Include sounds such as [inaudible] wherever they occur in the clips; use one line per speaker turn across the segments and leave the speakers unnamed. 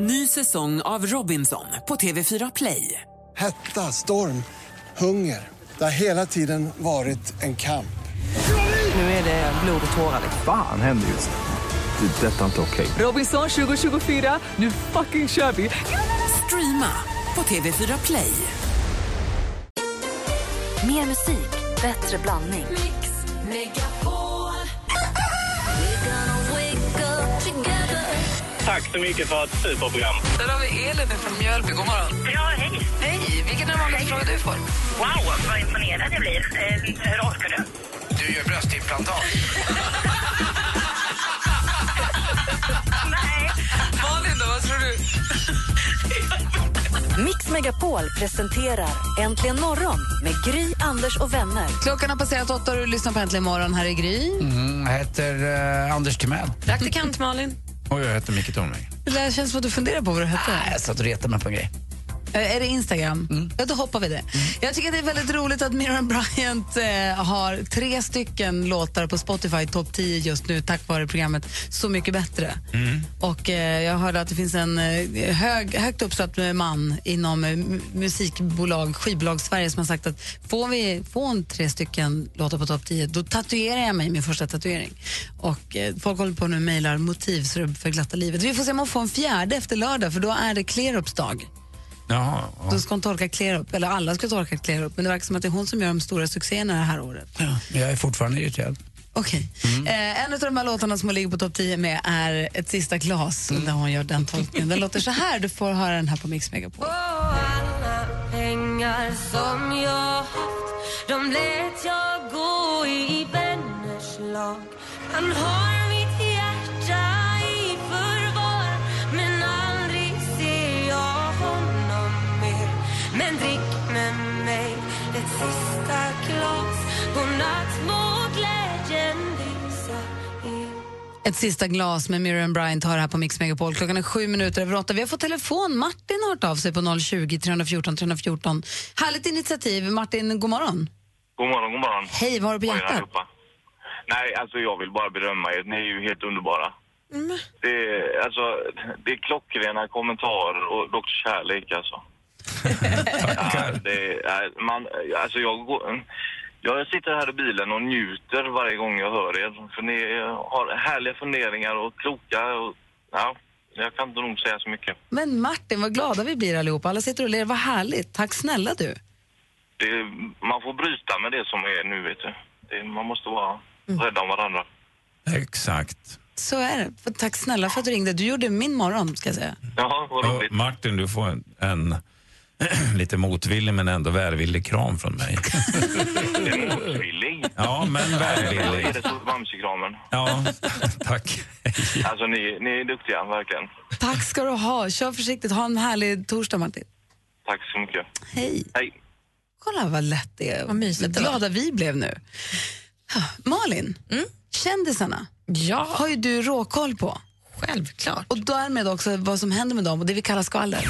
Ny säsong av Robinson på TV4 Play.
Hetta, storm, hunger. Det har hela tiden varit en kamp.
Nu är det blod och tårar.
Fan händer just nu. Det. är Detta är inte okej.
Robinson 2024, nu fucking kör vi! Streama på TV4 Play.
Mer musik, bättre blandning.
Tack så mycket för ett superprogram.
Där har vi Elin från Mjölby. God morgon.
Ja, hej.
Hej! Vilken är den vanligaste fråga du får?
Wow, vad imponerad jag blir. Eh, hur orkar du?
Du gör bröstimplantat.
Nej.
Malin, då, vad tror du?
Mix Megapol presenterar Äntligen morgon med Gry, Anders och vänner.
Klockan har passerat åtta och du lyssnar på Äntligen morgon. Här är Gry.
Mm, jag heter eh, Anders Timell.
Praktikant Malin.
Och jag heter Micke Tornving.
Det där känns som att du funderar på vad du hette.
Jag satt och retade mig på en grej.
Eh, Är det Instagram? Ja, då hoppar vi det. Jag tycker att det är väldigt roligt att Miriam Bryant eh, har tre stycken låtar på Spotify topp 10 just nu tack vare programmet Så mycket bättre. Och eh, jag hörde att det finns en eh, hög, högt uppsatt eh, man inom eh, mu- musikbolag, skivbolag Sverige som har sagt att får vi får hon tre stycken låtar på topp 10 då tatuerar jag mig min första tatuering. Och eh, folk håller på nu och mejlar motiv så det för glatta livet. Vi får se om hon får en fjärde efter lördag för då är det Klerups dag.
Jaha.
Då ska hon torka Klerup, eller alla ska torka Klerup, men det verkar som att det är hon som gör de stora succéerna det här året.
Ja. Jag är fortfarande irriterad.
Okej. Eh, en av de här låtarna som hon ligger på topp 10 med är Ett sista glas, där hon gör den tolkningen. Den låter så här, du får höra den här på Mix Megapol.
pengar som jag haft De lät jag gå i vänners lag Han har mitt hjärta i förvar Men aldrig ser jag honom mer Men drick med mig ett sista glas Godnatt må glädjen lysa er
Ett sista glas med Miriam Bryant har det här på Mix Megapol. Klockan är sju minuter över åtta. Vi har fått telefon. Martin har hört av sig på 020 314 314. Härligt initiativ. Martin, god morgon.
God morgon, god morgon.
Hej, vad har du på
Oj,
hjärtat?
allihopa. Nej, alltså jag vill bara berömma er. Ni är ju helt underbara.
Mm.
Det, är, alltså, det är klockrena kommentarer och också kärlek alltså. ja, det, är- man, alltså jag, går- jag sitter här i bilen och njuter varje gång jag hör er. För ni har härliga funderingar och kloka och, ja, jag kan inte nog säga så mycket.
Men Martin, vad glada vi blir allihopa. Alla sitter och ler. Vad härligt. Tack snälla du.
det, man får bryta med det som är nu, vet du. Det, man måste vara
Mm.
rädda om varandra.
Exakt.
Så är det. För- Tack snälla för att du ringde. Du gjorde min morgon, ska jag säga.
Ja, vad
Och
[laughs] roligt.
Martin, du får en, en [clears throat] lite motvillig men ändå välvillig kram från mig.
Det är motvillig.
Ja, men
Vad är
välvillig.
det så bamsekramen?
Ja, [laughs] tack.
Alltså, ni, ni är duktiga, verkligen.
Tack ska du ha. Kör försiktigt. Ha en härlig torsdag, Martin.
Tack så mycket.
Hej.
Hej.
Kolla vad lätt det är.
Vad mysigt det var. Mm?
glada vi blev nu. Ja, Malin, kändisarna
Ja,
har ju du råkoll på.
självklart.
Och därmed också vad som händer med dem och det vi kallar skvaller.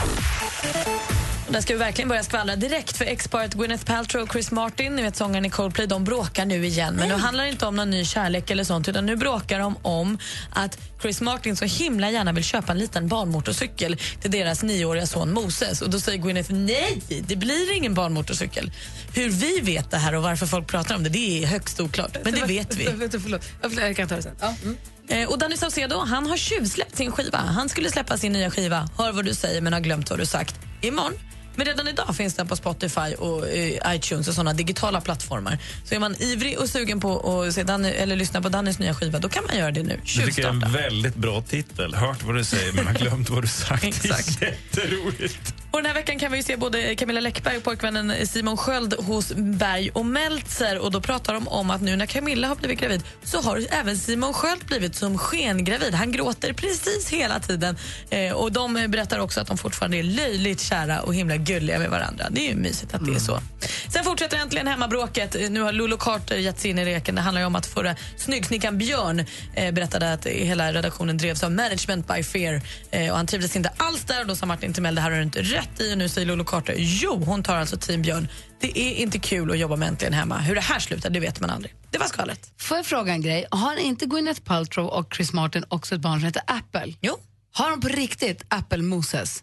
Och Där ska vi verkligen börja skvallra direkt för exparet Gwyneth Paltrow och Chris Martin, ni vet sångaren i Coldplay, de bråkar nu igen. Men
Mm.
nu handlar det inte om någon ny kärlek eller sånt utan nu bråkar de om att Chris Martin så himla gärna vill köpa en liten barnmotorcykel till deras nioåriga son Moses. Och då säger Gwyneth nej, det blir ingen barnmotorcykel. Hur vi vet det här och varför folk pratar om det, det är högst oklart. Men det vet vi.
[laughs] Förlåt, jag kan ta det sen. mm.
Eh, och Danny Saucedo han har tjuvsläppt sin skiva. Han skulle släppa sin nya skiva Hör vad du säger men har glömt vad du sagt imorgon. Men redan idag finns den på Spotify och eh, iTunes och såna digitala plattformar. Så är man ivrig och sugen på att se Danny, eller lyssna på Dannys nya skiva då kan man göra det nu.
Det tycker jag är en
Tjuvstarta.
väldigt bra titel. Hört vad du säger men har glömt vad du sagt.
Exakt.
Det är jätteroligt.
Och den här veckan kan vi ju se både Camilla Läckberg och pojkvännen Simon Sköld hos Berg och Meltzer. Och då pratar de om att nu när Camilla har blivit gravid så har även Simon Sköld blivit som skengravid. Han gråter precis hela tiden. Eh, och de berättar också att de fortfarande är löjligt kära och himla gulliga med varandra. Det är ju mysigt att det är så. Sen fortsätter äntligen hemmabråket. Eh, Nu har Lulu Carter gett sig in i leken. Det handlar ju om att förra snyggsnickaren Björn eh, berättade att hela redaktionen drevs av management by fear. Eh, och han trivdes inte alls där. Och då sa Martin Timell det här har du inte rätt i. Och nu säger Lulu Carter jo, hon tar alltså team Björn. Det är inte kul att jobba med Äntligen hemma. Hur det här slutar det vet man aldrig. Det var skvallret.
Får jag fråga en grej? Har inte Gwyneth Paltrow och Chris Martin också ett barn som heter Apple?
Jo.
Har de på riktigt äppelmoses?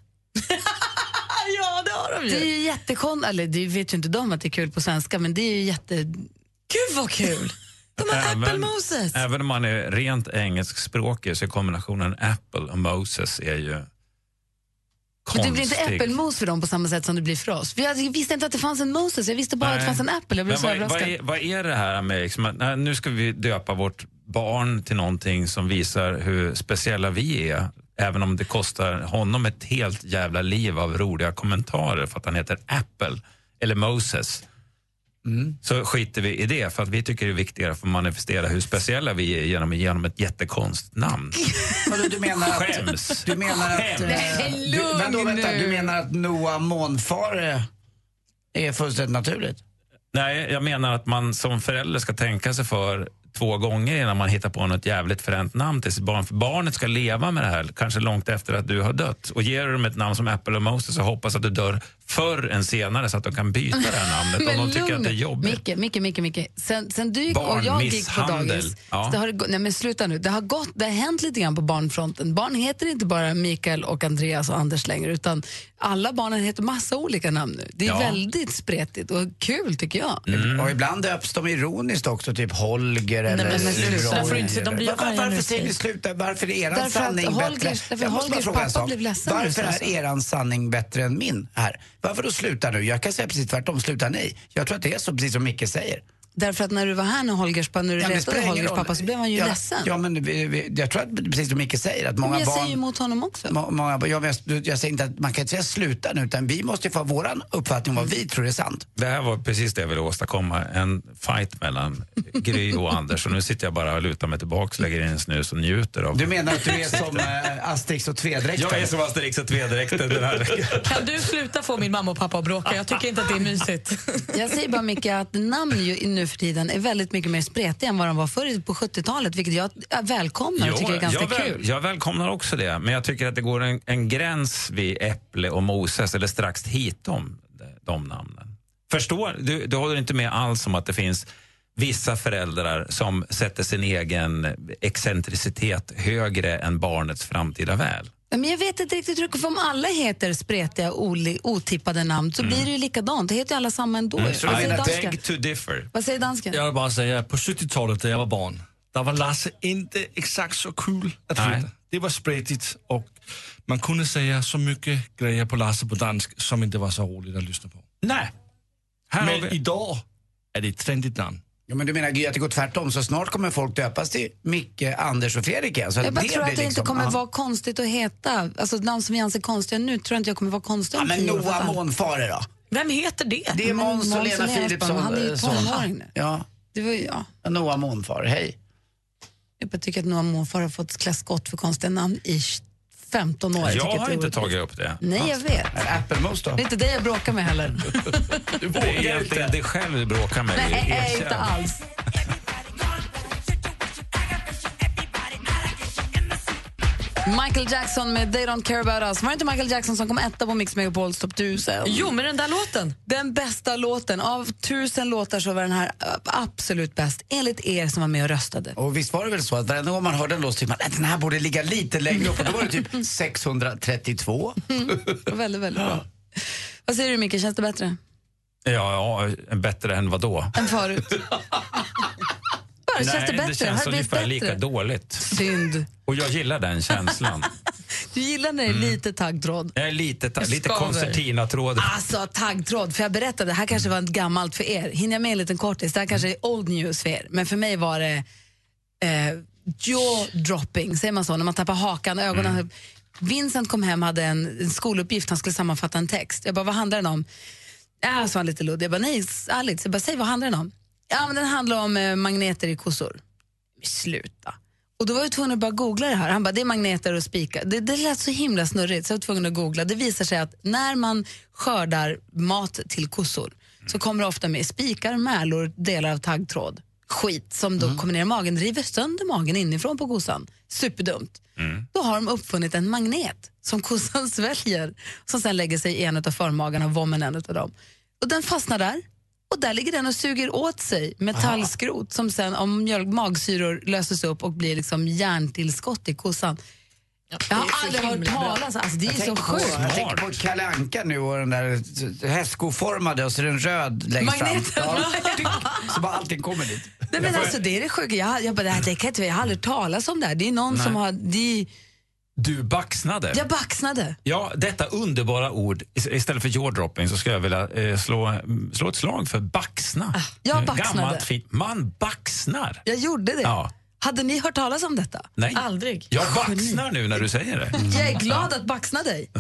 ja, det har de ju.
Det är ju jättekonstigt, eller det vet ju inte de att det är kul på svenska, men det är ju jätte... Gud
vad kul!
Även,
Moses.
även om man är rent engelskspråkig så är kombinationen apple och Moses är ju konstig.
Men det blir inte äppelmos för dem på samma sätt som det blir för oss. För Jag visste inte att det fanns en Moses, jag visste bara att det
Nej.
fanns en äppel. Jag blev
Men
så
vad, vad,
överraskad.
är, vad är det här med liksom, att, nej, nu ska vi döpa vårt barn till någonting som visar hur speciella vi är även om det kostar honom ett helt jävla liv av roliga kommentarer för att han heter Apple eller Moses. Så skiter vi i det för att vi tycker det är viktigare för att manifestera hur speciella vi är genom, genom ett jättekonst
[laughs]
namn.
Vadå, du menar att...
Skäms.
Du menar att... eh,
Nej,
du,
lugn
vänta, vänta,
nu.
du menar att Noah Månfare är fullständigt naturligt?
Nej, jag menar att man som förälder ska tänka sig för två gånger innan man hittar på något jävligt fränt namn till sitt barn. För barnet ska leva med det här, kanske långt efter att du har dött. Och ger du dem ett namn som Apple och Moses så hoppas att du dör förr än senare så att de kan byta det här namnet om de tycker att det är jobbigt.
Micke, Micke, Micke, Micke. Sen, sen du gick och jag gick på
Barnmisshandel.
dagis.
Ja.
Så det har, det gå- nej men sluta nu. Det har, gått, det har hänt lite grann på barnfronten. Barn heter inte bara Mikael och Andreas och Anders längre utan alla barnen heter massa olika namn nu. Det är
Ja.
väldigt spretigt och kul tycker jag.
Och ibland döps de ironiskt också, typ Holger
Nej,
eller...
men- men sluta,
Roger.
därför inte- de blir ju
varför
arga nu
varför
i
säger ni
sig.
sluta? Varför är eran
Därför att
sanning
Holgers-
bättre?
därför
Jag måste bara
Holgers
fråga en
pappa
sak.
blev ledsen alltså. när du
Varför
sa
är
så.
eran sanning bättre än min här? Varför då sluta nu? Jag kan säga precis tvärtom, sluta nej. Jag tror att det är så, precis som Micke säger.
Därför att när du var här när, Holgers, pa- när du
Ja, men det
retade
spelar ingen
Holgers
roll.
pappa så blev han ju
ja,
ledsen.
Ja, men vi, vi, jag tror att precis som Micke säger att många
men jag
barn...
säger ju emot honom också.
Må- Många, jag, jag, jag säger inte att man kan inte säga sluta nu, utan vi måste ju få våran uppfattning om vad vi tror är sant.
Det här var precis det jag ville åstadkomma, en fight mellan Gry och Anders. Och nu sitter jag bara och lutar mig tillbaka, lägger in en snus och njuter av
Du menar att du är som eh, Asterix och Tvedräkten?
Jag är som Asterix och Tvedräkten den här veckan.
Kan du sluta få min mamma och pappa att bråka? Jag tycker inte att det är mysigt.
Jag säger bara Micke att namn ju nu för tiden är väldigt mycket mer spretiga än vad de var förr på 70-talet, vilket jag eh, välkomnar och tycker är ganska
jag, väl-
kul.
jag välkomnar också det, men jag tycker att det går en, en gräns vid Äpple och Moses, eller strax hitom, de, de namnen. Förstår du? Du håller inte med alls om att det finns vissa föräldrar som sätter sin egen excentricitet högre än barnets framtida väl.
Ja, Men jag vet inte riktigt hur, för om alla heter spretiga, oli, otippade namn
Mm.
så blir det ju likadant. Då heter ju alla samma ändå. ju. Vad, säger dansken?
to differ.
Vad säger dansken?
Jag vill bara säga, på 70-talet när jag var barn, där var Lasse inte exakt så kul att
Nej.
flytta. Det var spretigt och man kunde säga så mycket grejer på Lasse på dansk som inte var så roligt att lyssna på.
Nej.
Här har
Men
vi-
idag är det ett trendigt namn.
Ja, men du menar Gry att det går tvärtom, så snart kommer folk döpas till Micke, Anders och Fredrik igen. Så
Jag bara
det
tror att
blir
det inte
liksom-
kommer
ja.
vara konstigt att heta, alltså namn som vi anser konstiga nu tror jag inte jag kommer vara konstig
Ja,
om
men
tio år, för
Noah
fan.
Månfare då?
Vem heter det?
Det är
Men
Måns och Lena
Leopoldsson,
Philipsson.
Han är ju
eh, son.
tonåring nu.
Ja.
Det var ju, ja.
Noah Månfare, hej.
Jag bara tycker att Noah Monfar har fått klä skott för konstiga namn i 15 år.
Jag
tycker att
har
det är
inte
orättvist.
tagit upp det.
Nej, jag vet.
Äppelmos då?
Det är inte det jag bråkar med heller.
Det är egentligen dig själv du bråkar med.
Nej, eh,
Erkänn.
inte alls. Michael Jackson med They Don't Care About Us. Var det inte Michael Jackson som kom etta på Mix Megapols topp 1000?
Jo, med den där låten.
Den bästa låten. Av tusen låtar så var den här ö, absolut bäst, enligt er som var med och röstade.
Och visst var det väl så att varenda gång man hörde en låt så tyckte man att den här borde ligga lite längre upp. Och då var det
[laughs]
typ 632.
Det var väldigt, väldigt bra. Vad säger du, Micke? Känns det bättre
Ja, ja, bättre än vad då?
än förut? Bara,
Nej,
känns det bättre?
det
Har
känns
det blivit
ungefär
bättre?
lika dåligt.
Synd.
Och jag gillar den känslan.
Du gillar när det är lite taggtråd?
Jag är lite, ta-
Jag
lite
skaver.
koncertina-tråd.
Ah,
Alltså taggtråd, för jag berättade, det här kanske var gammalt för er. Hinner jag med en liten kortis? Det här kanske är old news för er, men för mig var det eh, jaw dropping, säger man så, när man tappar hakan, ögonen. Vincent kom hem hade en, en skoluppgift, han skulle sammanfatta en text. Jag bara, vad handlar den om? Ja, sa han lite luddigt. Jag bara, nej, ärligt. Jag bara, säg vad handlar den om? Ja, men den handlar om eh, magneter i kossor. Men Sluta. Och då var jag tvungen att bara googla det här. Han bara, det är magneter och spikar. Det, det lät så himla snurrigt så jag var tvungen att googla. Det visar sig att när man skördar mat till kossor så kommer det ofta med spikar, märlor, delar av taggtråd. Skit som då kommer ner i magen, river sönder magen inifrån på kossan. Superdumt. Då har de uppfunnit en magnet som kossan [laughs] sväljer som sen lägger sig i en av förmagarna, vommen en av dem. Och den fastnar där och där ligger den och suger åt sig metallskrot som sen om mjölk, magsyror löses upp och blir liksom järntillskott i kossan. Jag har aldrig hört talas alltså, Det är
Jag
ju så
tänker på-
sjukt.
Jag tänker på Kalle Anka nu och den där hästskoformade och så är den röd längst
Magneten.
fram. Ja. [laughs] så bara allting kommer dit.
Nej, men alltså, det är det sjuka. Jag, jag, bara, det här, det kan inte, jag har aldrig hört talas om det här. Det är någon
Nej.
som har... De,
Du baxnade.
jag baxnade.
Ja, detta underbara ord. Is- Istället för jaw-dropping så ska jag vilja eh, slå, mm, slå ett slag för baxna.
Ah, jag
Eh,
baxnade.
Gammalt fint. Man baxnar.
Jag gjorde det.
Ja.
Hade ni hört talas om detta?
Nej.
Aldrig.
Jag baxnar nu när du säger det.
Jag är glad att baxna dig.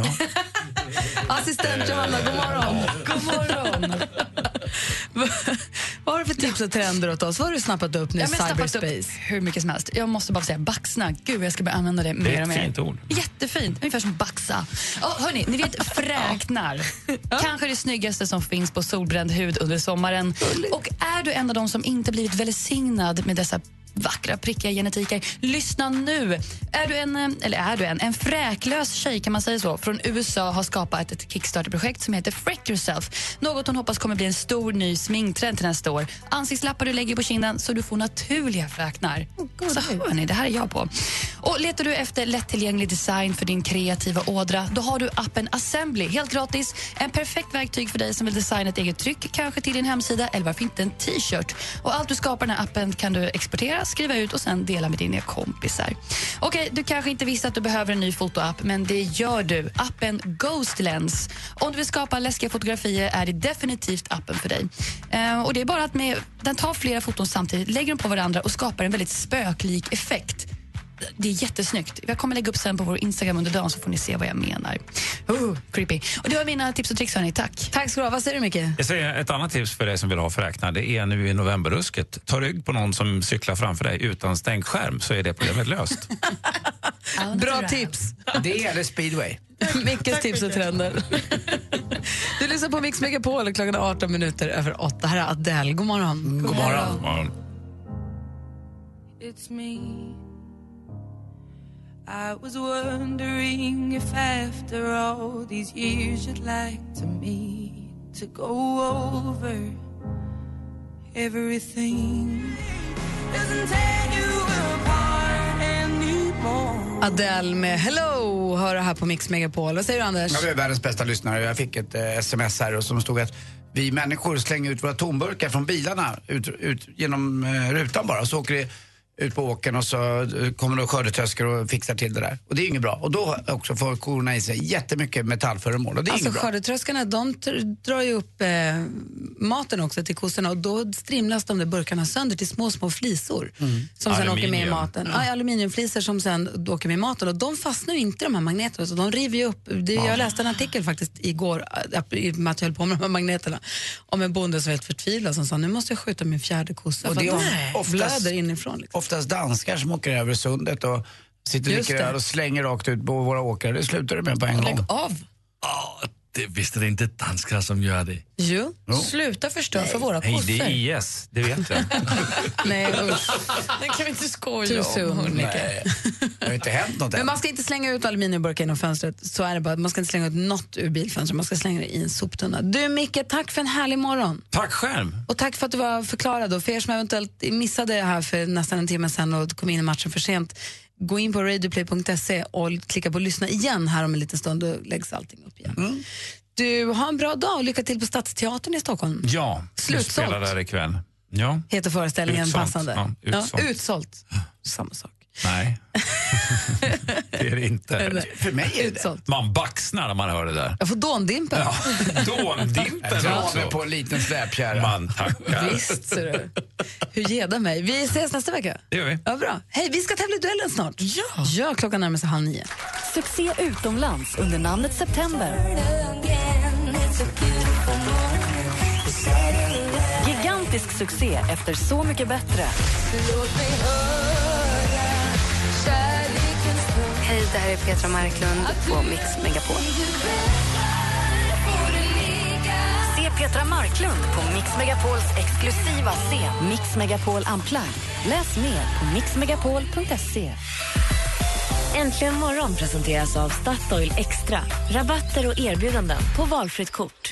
[laughs] Assistent Johanna, god morgon. God morgon. Vad har du för tips och trender åt oss? Vad har du snappat upp nu i
Jag har snappat
cyberspace?
upp hur mycket som helst. Jag måste bara säga baxna. Gud, jag ska börja använda det mer
ett
och mer.
fint ord.
Jättefint. Ungefär som baxa. Oh, hörni, ni vet fräknar. Kanske det snyggaste som finns på solbränd hud under sommaren. Och är du en av dem som inte blivit välsignad med dessa vackra prickiga genetiker. Lyssna nu! Är du en, eh, eller är du en, en fräklös tjej kan man säga så, från USA har skapat ett Kickstarter-projekt som heter Freck Yourself. Något hon hoppas kommer bli en stor ny sminktrend till nästa år. Ansiktslappar du lägger på kinden så du får naturliga fräknar. så hörni, det här är jag på. Och letar du efter lättillgänglig design för din kreativa ådra, då har du appen Assembly helt gratis. En perfekt verktyg för dig som vill designa ett eget tryck, kanske till din hemsida eller varför inte en t-shirt. Och allt du skapar i den här appen kan du exportera, skriva ut och sen dela med dina kompisar. Okej, du kanske inte visste att du behöver en ny fotoapp, men det gör du. Appen Ghost Lens. Om du vill skapa läskiga fotografier är det definitivt appen för dig. Eh, och det är bara att med, den tar flera foton samtidigt, lägger dem på varandra och skapar en väldigt spöklik effekt. Det är jättesnyggt. Jag kommer lägga upp sen på vår Instagram under dagen så får ni se vad jag menar. Oh, creepy. Och det var mina tips och tricks hörni. Tack.
Tack ska du ha. Vad säger du Micke?
Jag säger ett annat tips för dig som vill ha fräknar. Det är nu i novemberrusket. Ta rygg på någon som cyklar framför dig utan stängd skärm så är det problemet löst.
Bra tips.
Det eller speedway.
[laughs] Mickes tips och trender. Du lyssnar på Mix Megapol och klockan är 18 minuter över 8. Här är Adele. God morgon.
Mm, God morgon.
It's me. I was wondering if after all these years you'd like to me to go over everything. Doesn't tear you apart anymore.
Adele med Hello hör du här på Mix Megapol. Vad säger du Anders?
Ja, vi är världens bästa lyssnare. Jag fick ett eh, sms här och som stod att vi människor slänger ut våra tomburkar från bilarna ut, ut genom eh, rutan bara. Så åker det ut på åkern och så eh, kommer det skördetröskor och fixar till det där. Och det är ju inget bra. Och då också får korna i sig jättemycket metallföremål och det är
Alltså
inget bra.
skördetröskarna de tr- drar ju upp eh, maten också till kossorna och då strimlas de där burkarna sönder till små, små flisor
Mm.
som sen åker med i
Aluminium.
maten. Ja. aluminiumflisor som sen åker med i maten och de fastnar ju inte de här magneterna så de river ju upp. Det, Jag läste en artikel faktiskt igår, eh, ap- i och med att jag höll på med de här magneterna, om en bonde som var helt förtvivlad som sa nu måste jag skjuta min fjärde kossa
Och
för
det
att
är
de
oftast-
blöder inifrån. Liksom.
Oftast danskar som åker över sundet och sitter och
Just
dricker
det.
öl och slänger rakt ut på våra åkrar. Det slutar det med på en gång.
[laughs] av!
Det visste det inte danskar som gör det.
Jo,
Jo.
sluta förstöra för våra
Nej,
kossor.
det är
IS, det vet jag.
Nej, usch.
Det kan vi inte skoja
Too soon,
om.
Monica.
Nej, det har inte hänt något
Men
än.
man ska inte slänga ut aluminiumburkar genom fönstret. Så är det bara. Man ska inte slänga ut något ur bilfönstret. Man ska slänga det i en soptunna. Du Micke, tack för en härlig morgon.
Tack skärm.
Och tack för att du var förklarad. Och för er som eventuellt missade det här för nästan en timme sedan och kom in i matchen för sent, gå in på radioplay.se och klicka på lyssna igen här om en liten stund. Då läggs allting upp igen.
Mm.
Du, ha en bra dag och lycka till på Stadsteatern i Stockholm.
Ja, vi
Slutsålt.
spelar där ikväll. Ja.
Heter föreställningen
Utsålt.
passande?
Ja, utsålt.
utsålt. Samma sak.
Nej, det är det inte.
Nej. För mig är det Utsålt.
Man baxnar när man hör det där.
Jag får dåndimpen.
Ja, dåndimpen
Dra
också.
mig på en liten släpkärra.
Man tackar.
Visst, ser du. Hur geda mig. Vi ses nästa vecka.
Det gör vi.
Ja, bra. Hej, vi ska tävla i duellen snart. Ja. ja klockan närmar sig halv nio.
Succé utomlands under namnet September. Gigantisk succé efter Så mycket bättre.
Hej, det här är Petra Marklund på Mix Megapol.
Se Petra Marklund på Mix Megapols exklusiva scen Mix Megapol Unplugged. Läs mer på mixmegapol.se. Äntligen morgon presenteras av Statoil Extra. Rabatter och erbjudanden på valfritt kort.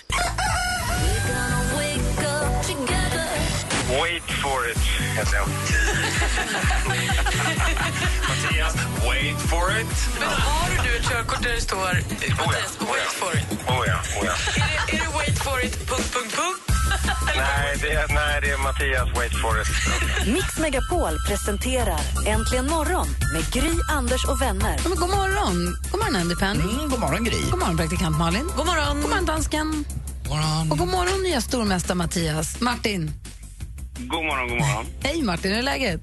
Wait for it.
heter jag. Mattias, wait for it.
Men har du ett körkort där det står
Oh
eh, Mattias, wait for it?
Oh ja, oh ja.
Är det, är det wait for it, punkt, punkt, punkt?
Nej, det, är- nej, det är Mattias, wait for it.
Mix Megapol presenterar Äntligen morgon med Gry, Anders och vänner.
Ja, men god morgon! God morgon, Andy Pan.
Mm, god morgon, Gry.
God morgon, praktikant Malin.
God morgon.
God morgon, dansken. Och god morgon, nya stormästare Mattias. Martin.
God morgon, god morgon.
Hej, Martin. Hur är läget?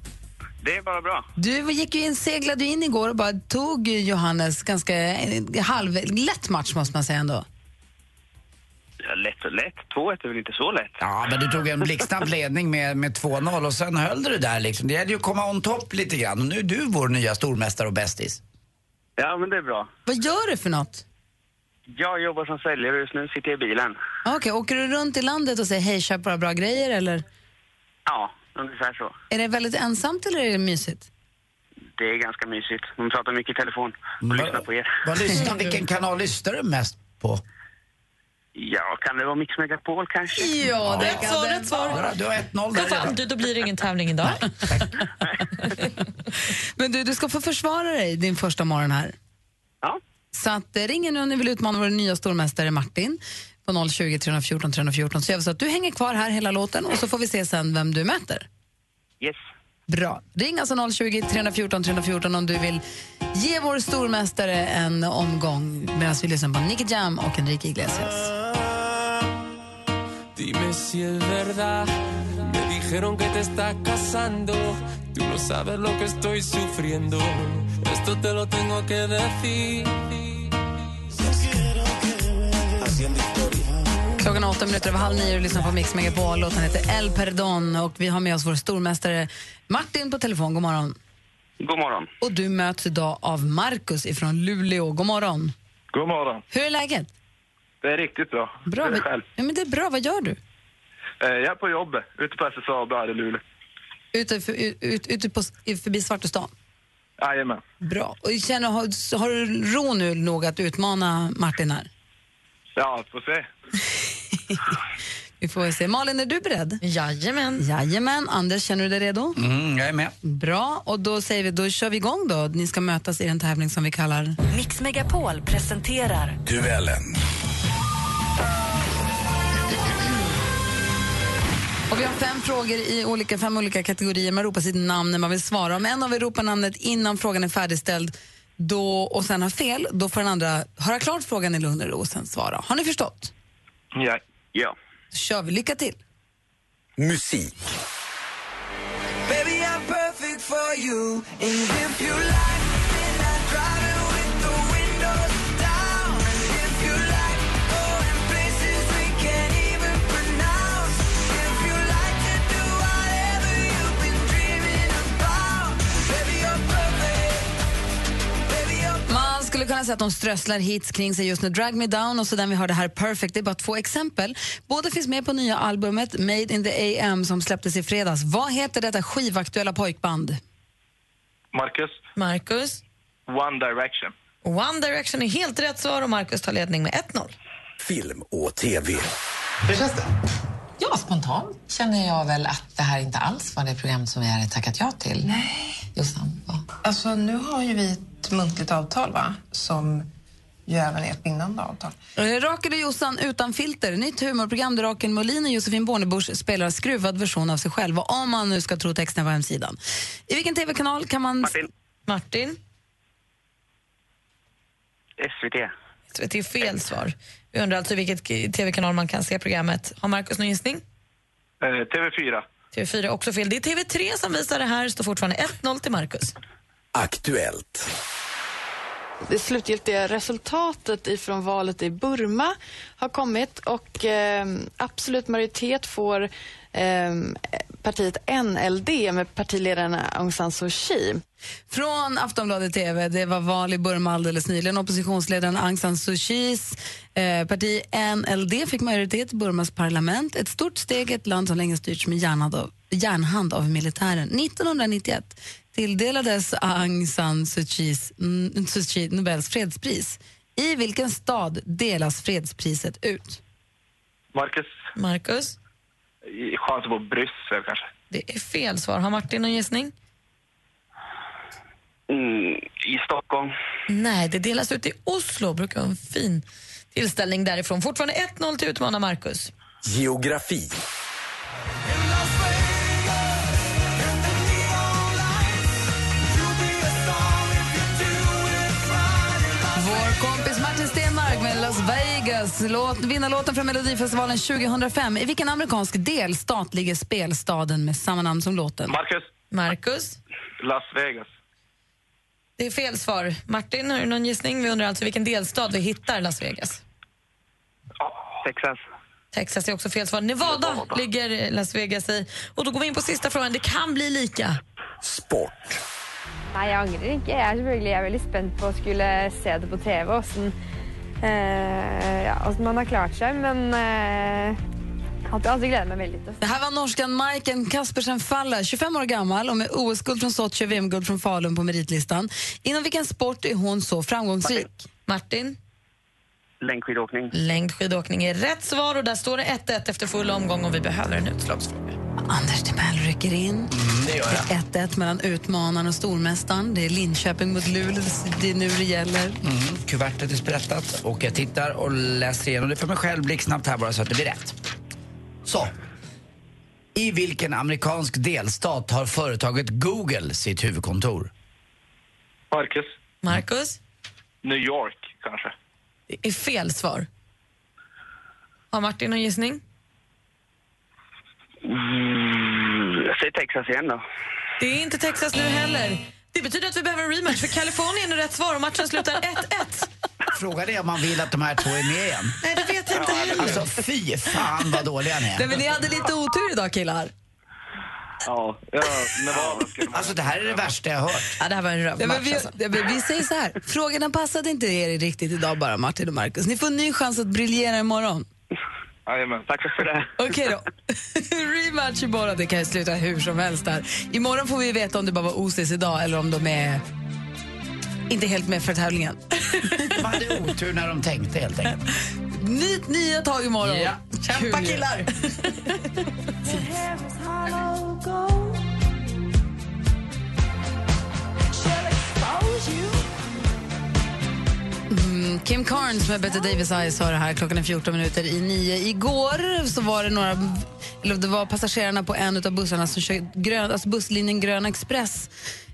Det är bara bra.
Du gick ju in, seglade ju in igår och bara tog ju Johannes ganska en halvlätt match, måste man säga ändå.
Ja, lätt och lätt. 2-1 är väl inte så lätt?
Ja, men du tog en blixtsnabb ledning med, med 2-0 och sen höll du det där liksom. Det gäller ju att komma on top lite grann. Och nu är du vår nya stormästare och bästis.
Ja, men det är bra.
Vad gör du för något?
Jag jobbar som säljare just nu, sitter i bilen.
Ah, Okej, åker du runt i landet och säger hej, köp bara bra grejer eller?
Ja, ungefär så.
Är det väldigt ensamt eller är det mysigt?
Det är ganska mysigt. De pratar mycket i telefon och lyssnar på er.
Vad lyssnar, vilken kanal lyssnar du mest på?
Ja, kan det vara Mix Megapol kanske?
Ja, det rätt svar, rätt
svar. Du har 1-0
där fan, du, Då blir det ingen tävling idag. [laughs]
Men du, du ska få försvara dig din första morgon här.
Ja.
Så att, eh, ring in nu om ni vill utmana vår nya stormästare Martin på 020 314 314 så gör vi så att du hänger kvar här hela låten och så får vi se sen vem du möter.
Yes.
Bra. Ring alltså 020 314 314 om du vill ge vår stormästare en omgång medan vi lyssnar på Nicky Jam och Enrique Iglesias.
Dime si es verdad. Me dijeron que te estás casando. Tú no sabes lo que estoy sufriendo. Esto te lo tengo que decir.
Klockan är åtta minuter över halv nio och lyssnar på Mix Megapol. Låten heter El Perdon och vi har med oss vår stormästare Martin på telefon. God morgon.
God morgon.
Och du möts idag av Marcus ifrån Luleå. God morgon.
God morgon.
Hur är läget?
Det är riktigt bra.
Bra.
Det är
vad-
själv.
Ja, men det är bra. Vad gör du?
Eh, Jag är på jobbet ute på SSAB här i Luleå.
Ute, för, ut, ute på, förbi Svartostan?
Jajamän.
Bra. Och känner, har, har du ro nu nog att utmana Martin här?
Ja, får se.
Vi får väl se. Malin, är du beredd? Jajamän. Jajamän. Anders, känner du dig redo?
Mm, jag är med.
Bra. Och då säger vi, då kör vi igång då. Ni ska mötas i den tävling som vi kallar...
Mix Megapol presenterar
Duellen.
Och vi har fem frågor i olika, fem olika kategorier. Man ropar sitt namn när man vill svara. Om en av er ropar namnet innan frågan är färdigställd då, och sen har fel, då får den andra höra klart frågan i lugn och ro och sen svara. Har ni förstått?
Ja. ja.
Då kör vi. Lycka till.
Musik.
Baby, I'm perfect for you. And if you
Man skulle kunna säga att de strösslar hits kring sig just nu. Drag Me Down och så den vi hörde här, Perfect. Det är bara två exempel. Båda finns med på nya albumet Made in the AM som släpptes i fredags. Vad heter detta skivaktuella pojkband?
Marcus,
Marcus,
One Direction.
One Direction är helt rätt svar och Marcus tar ledning med 1-0.
Film och TV.
Hur känns det? Ja, spontant känner jag väl att det här inte alls var det program som vi hade tackat ja till. Nej. Just
Alltså, nu har ju vi ett muntligt avtal, va? Som ju även är ett bindande avtal.
Eh, Rakel och Jossan utan filter. Nytt humorprogram där Rakel Molin och Josefin Bornebusch spelar skruvad version av sig själva. Om man nu ska tro texten på hemsidan. I vilken tv-kanal kan man... Martin.
Martin,
SVT.
det är fel svar. Vi undrar alltså vilket k- tv-kanal man kan se programmet. Har Marcus någon gissning?
Eh, TV4.
TV4 är också fel. Det är TV3 som visar det här. Står fortfarande 1-0 till Marcus.
Aktuellt.
Det slutgiltiga resultatet ifrån valet i Burma har kommit och eh, absolut majoritet får eh, partiet NLD med partiledaren Aung San Suu Kyi.
Från Aftonbladet TV. Det var val i Burma alldeles nyligen. Oppositionsledaren Aung San Suu Kyis eh, parti NLD fick majoritet i Burmas parlament. Ett stort steg i ett land som länge styrts med järnhand av, järnhand av militären. 1991 tilldelades Aung San Suu Kyis mm, Suu Kyi Nobels fredspris. I vilken stad delas fredspriset ut?
Marcus,
Marcus?
chansen på Bryssel kanske.
Det är fel svar. Har Martin någon gissning?
Mm, I Stockholm.
Nej, det delas ut i Oslo. Brukar vara en fin tillställning därifrån. Fortfarande 1-0 till utmanar Marcus.
Geografi.
Vår kompis Martin Stenmark med Las Vegas, låt, vinnarlåten från Melodifestivalen 2005. I vilken amerikansk delstat ligger spelstaden med samma namn som låten?
Marcus,
Marcus,
Las Vegas.
det är fel svar. Martin, har du någon gissning? Vi undrar alltså vilken delstat vi hittar Las Vegas.
Texas.
Texas är också fel svar. Nevada, ligger Las Vegas i. Och då går vi in på sista frågan. Det kan bli lika.
Sport.
Nei, jeg angrer ikke. Jeg er selvfølgelig jeg er veldig spent på å skulle se det på TV. Hvordan, eh, ja, hvordan man har klart seg, men eh, at jeg altså gleder meg veldig til å
Det här var norskan Majken Kaspersen Faller, 25 år gammal och med OS-guld från Sochi och VM-guld från Falun på meritlistan. Inom vilken sport är hon så framgångsrik?
Martin?
Längdskidåkning.
Längdskidåkning är rätt svar och där står det 1-1 efter full omgång och vi behöver en utslagsfråga.
Anders Timell rycker in.
Mm,
det gör
Det är 1-1 mellan utmanaren och stormästaren. Det är Linköping mot Luleå. Det är nu det gäller.
Mm, kuvertet är sprättat och jag tittar och läser igenom det för mig själv blixtsnabbt här bara så att det blir rätt. Så. I vilken amerikansk delstat har företaget Google sitt huvudkontor?
Marcus.
Marcus?
New York, kanske.
Det är fel svar. Har Martin någon gissning?
Mm, jag säger Texas igen då.
Det är inte Texas nu heller. Det betyder att vi behöver en rematch för Kalifornien är rätt svar och matchen slutar 1-1.
Frågan är om man vill att de här två är med igen.
Nej, det vet jag inte heller.
Alltså fy fan vad dåliga ni
Nej, men
är.
ni hade lite otur idag killar.
Ja,
Alltså det här är det värsta jag har hört.
Ja, det här var en
Ja, men
rövmatch
vi,
alltså.
ja, men vi säger så här, frågorna passade inte er riktigt idag bara Martin och Markus. Ni får en ny chans att briljera imorgon.
Jajamän, tack för det.
Okej då. [laughs] Rematch imorgon, det kan ju sluta hur som helst där. Imorgon får vi veta om det bara var OCs idag eller om de är inte helt med för tävlingen.
De hade otur när de tänkte helt enkelt.
Nytt nya tag imorgon.
Ja. Kämpa,
Kul.
killar.
Mm, Kim Carnes med Bette Davis Eyes har det här klockan är 14 minuter i nio. Igår så var det några, eller det var passagerarna på en av bussarna som kör grön, alltså busslinjen Grön Express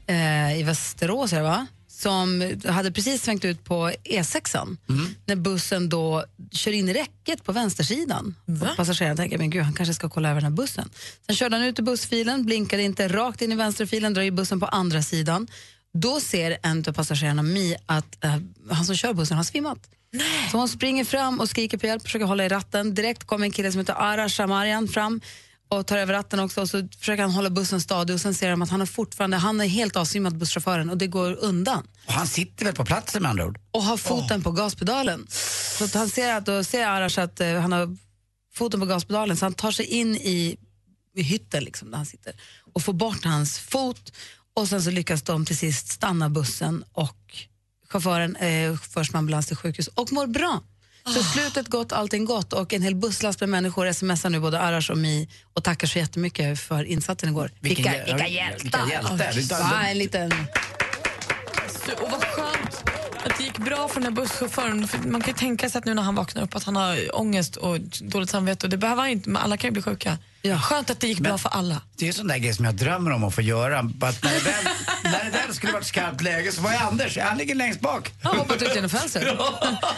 eh, i Västerås, är det va? som hade precis svängt ut på E6 när bussen då kör in i räcket på vänstersidan. Och Passageraren tänker men gud, han kanske ska kolla över den här bussen. Sen körde han ut ur bussfilen, blinkade inte, rakt in i vänsterfilen, drar ju bussen på andra sidan. Då ser en av passagerarna, Mi, att eh, han som kör bussen har svimmat. Så hon springer fram och skriker på hjälp, försöker hålla i ratten. Direkt kommer en kille som heter Ara Shamarian fram och tar över ratten också och så försöker han hålla bussen stadig och sen ser de att han har fortfarande, han är helt avsvimmad busschauffören och det går undan
Och han sitter väl på platsen med andra ord?
och har foten på gaspedalen. Så att han ser att, då ser Arash att eh, han har foten på gaspedalen så han tar sig in i, i hytten liksom, där han sitter och får bort hans fot och sen så lyckas de till sist stanna bussen och chauffören eh, förs med ambulans till sjukhus och mår bra.
Ah.
Så slutet gott, allting gott och en hel busslast med människor smsar nu både Arash och Mi och tackar så jättemycket för insatsen igår.
Vilken
Vilka,
jä-
vilka
vilka
hjältar!
hjältar. Det är-
Ja, en liten...
Och vad skönt att det gick bra för den här busschauffören. För man kan ju tänka sig att nu när han vaknar upp att han har ångest och dåligt samvete och det behöver han ju inte, men alla kan ju bli sjuka. Skönt att det gick bra för alla.
Det är en sån där grej som jag drömmer om att få göra. Bara Att när, det väl, när det väl skulle varit skarpt läge så var jag Anders, han ligger längst bak. [laughs]
Ja, hoppat ut genom fönstret.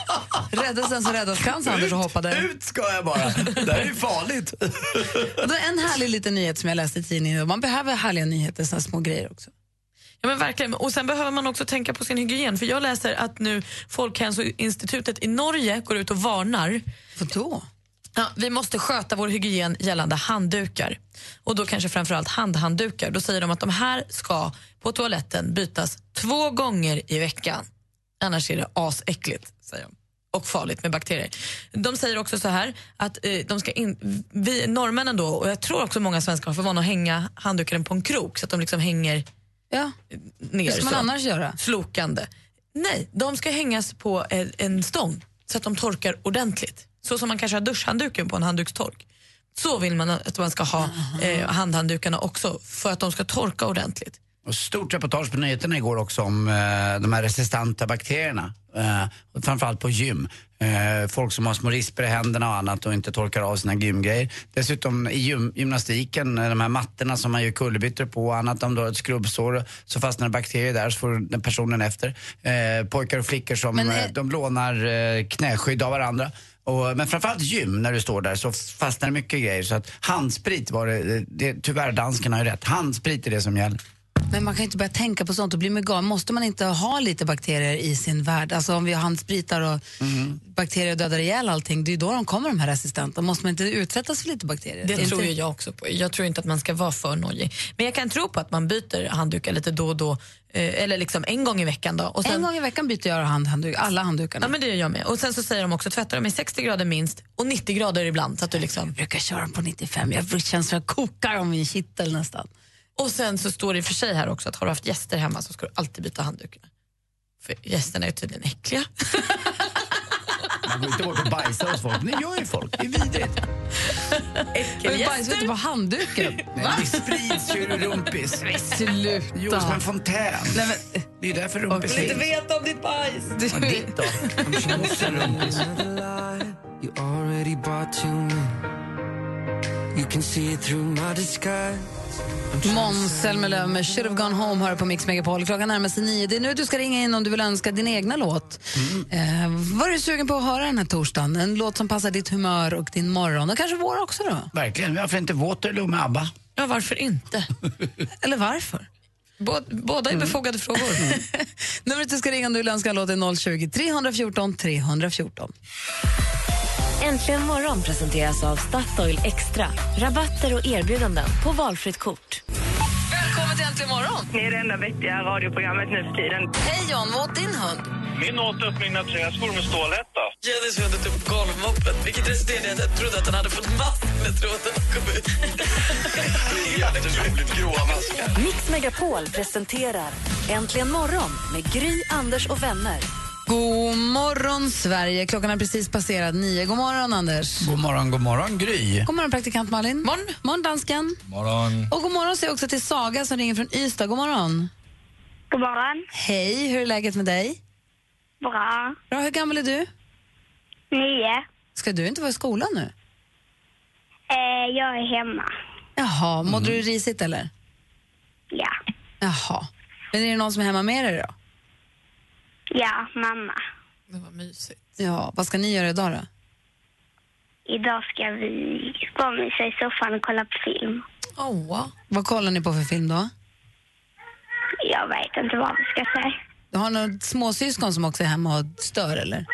[laughs] Räddas den som räddas kan, sa Anders och hoppade.
Ut ska jag bara. Det här är ju farligt. [laughs]
Och det var en härlig liten nyhet som jag läste i tidningen. Man behöver härliga nyheter, såna små grejer också.
Ja, men verkligen. Och Sen behöver man också tänka på sin hygien. För Jag läser att nu Folkhälsoinstitutet i Norge går ut och varnar.
Vadå?
Ja, vi måste sköta vår hygien gällande handdukar. Och då kanske framförallt handhanddukar. Då säger de att de här ska på toaletten bytas två gånger i veckan. Annars är det asäckligt, säger de och farligt med bakterier. De säger också så här att eh, de ska in, vi norrmännen då, och jag tror också många svenskar har för vana att hänga handduken på en krok så att de liksom hänger
Ja.
ner.
Hur ska man
så.
annars göra?
Flokande. Nej, de ska hängas på en, en stång så att de torkar ordentligt. Så som man kanske har duschhandduken på en handdukstork. Så vill man att man ska ha eh, handhanddukarna också för att de ska torka ordentligt.
Och stort reportage på nyheterna igår också om eh, de här resistenta bakterierna. Eh, framförallt på gym. Eh, folk som har små rispor i händerna och annat och inte torkar av sina gymgrejer. Dessutom i gym, gymnastiken, eh, de här mattorna som man gör kullerbyttor på och annat. Om du har ett skrubbsår så fastnar det bakterier där så får den personen efter. Eh, pojkar och flickor som
Men, eh,
eh, de lånar eh, knäskydd av varandra. Och, men framförallt gym, när du står där så fastnar det mycket grejer. Så att handsprit var det, eh, det tyvärr danskarna har ju rätt. Handsprit är det som gäller.
Men man kan ju inte börja tänka på sånt och bli med galen. Måste man inte ha lite bakterier i sin värld? Alltså om vi har handspritar och Mm. bakterier dödar ihjäl allting, det är ju då de kommer de här resistenta. Måste man inte utsättas för lite bakterier?
Det
Inte-
tror ju jag också på. Jag tror inte att man ska vara för nojig. Men jag kan tro på att man byter handdukar lite då och då. Eh, eller liksom en gång i veckan då. Och sen,
En gång i veckan byter jag hand, handduk, alla handdukarna.
Ja, men det gör jag med. Och sen så säger de också tvätta dem i 60 grader minst och 90 grader ibland. Så att du liksom... Jag
brukar köra dem på 95. Jag känns som jag kokar om min kittel nästan.
Och sen så står det i och för sig här också att har du haft gäster hemma så ska du alltid byta handdukarna. För gästerna är tydligen äckliga.
Man går inte bort och bajsar hos folk. Det gör ju folk. Det är vidrigt.
Men bajsar inte
[laughs]
på handduken?
Nej, det sprids ju ur rumpis.
Sluta.
Jo, som en fontän. Det är därför rumpis finns.
veta om ditt bajs.
Men ditt då? De kör mot sin rumpis.
liksom.
You already bought too many. You can see it through my disguise.
Måns Zelmerlöw med Should have gone home hör på Mix Megapol. Klockan närmar sig nio. Det är nu du ska ringa in om du vill önska din egna låt.
Mm.
Eh, vad är du sugen på att höra den här torsdagen? En låt som passar ditt humör och din morgon och kanske vår också då?
Verkligen. Varför inte Waterloo med ABBA?
Ja, varför
[laughs]
inte?
Eller varför?
båda är befogade frågor.
Mm. [laughs] Numret du ska ringa om du vill önska en låt är 020 314 314.
Äntligen morgon presenteras av Statoil Extra. Rabatter och erbjudanden på valfritt kort.
Välkommen till Äntligen morgon!
Ni är det enda vettiga radioprogrammet nu för tiden.
Hej John, vad åt din hund?
Min åt upp mina träskor med stålhätta.
Jennys hund åt upp golvmoppen, vilket resulterade i att jag trodde att han hade fått mask när tråden kom ut.
Jätteroligt, gråa maskar. Mix Megapol presenterar Äntligen morgon med Gry, Anders och vänner.
God morgon Sverige. Klockan är precis passerat nio. God morgon Anders.
God morgon, god morgon, Gry.
God morgon praktikant Malin. Morgon. morgon dansken.
Morgon.
Och god morgon säger jag också till Saga som ringer från Ystad. God morgon.
God morgon.
Hej, hur är läget med dig?
Bra.
Bra, hur gammal är du?
Nio.
Ska du inte vara i skolan nu?
Eh, jag är hemma.
Jaha, mådde du risigt eller?
Ja.
Jaha. Men är det någon som är hemma med dig då?
Ja, mamma.
Ja, vad ska ni göra idag då?
Idag ska vi bara mysa i soffan och kolla på film.
Oh.
Vad kollar ni på för film då?
Jag vet inte vad vi ska säga.
Du har några småsyskon som också är hemma och stör eller?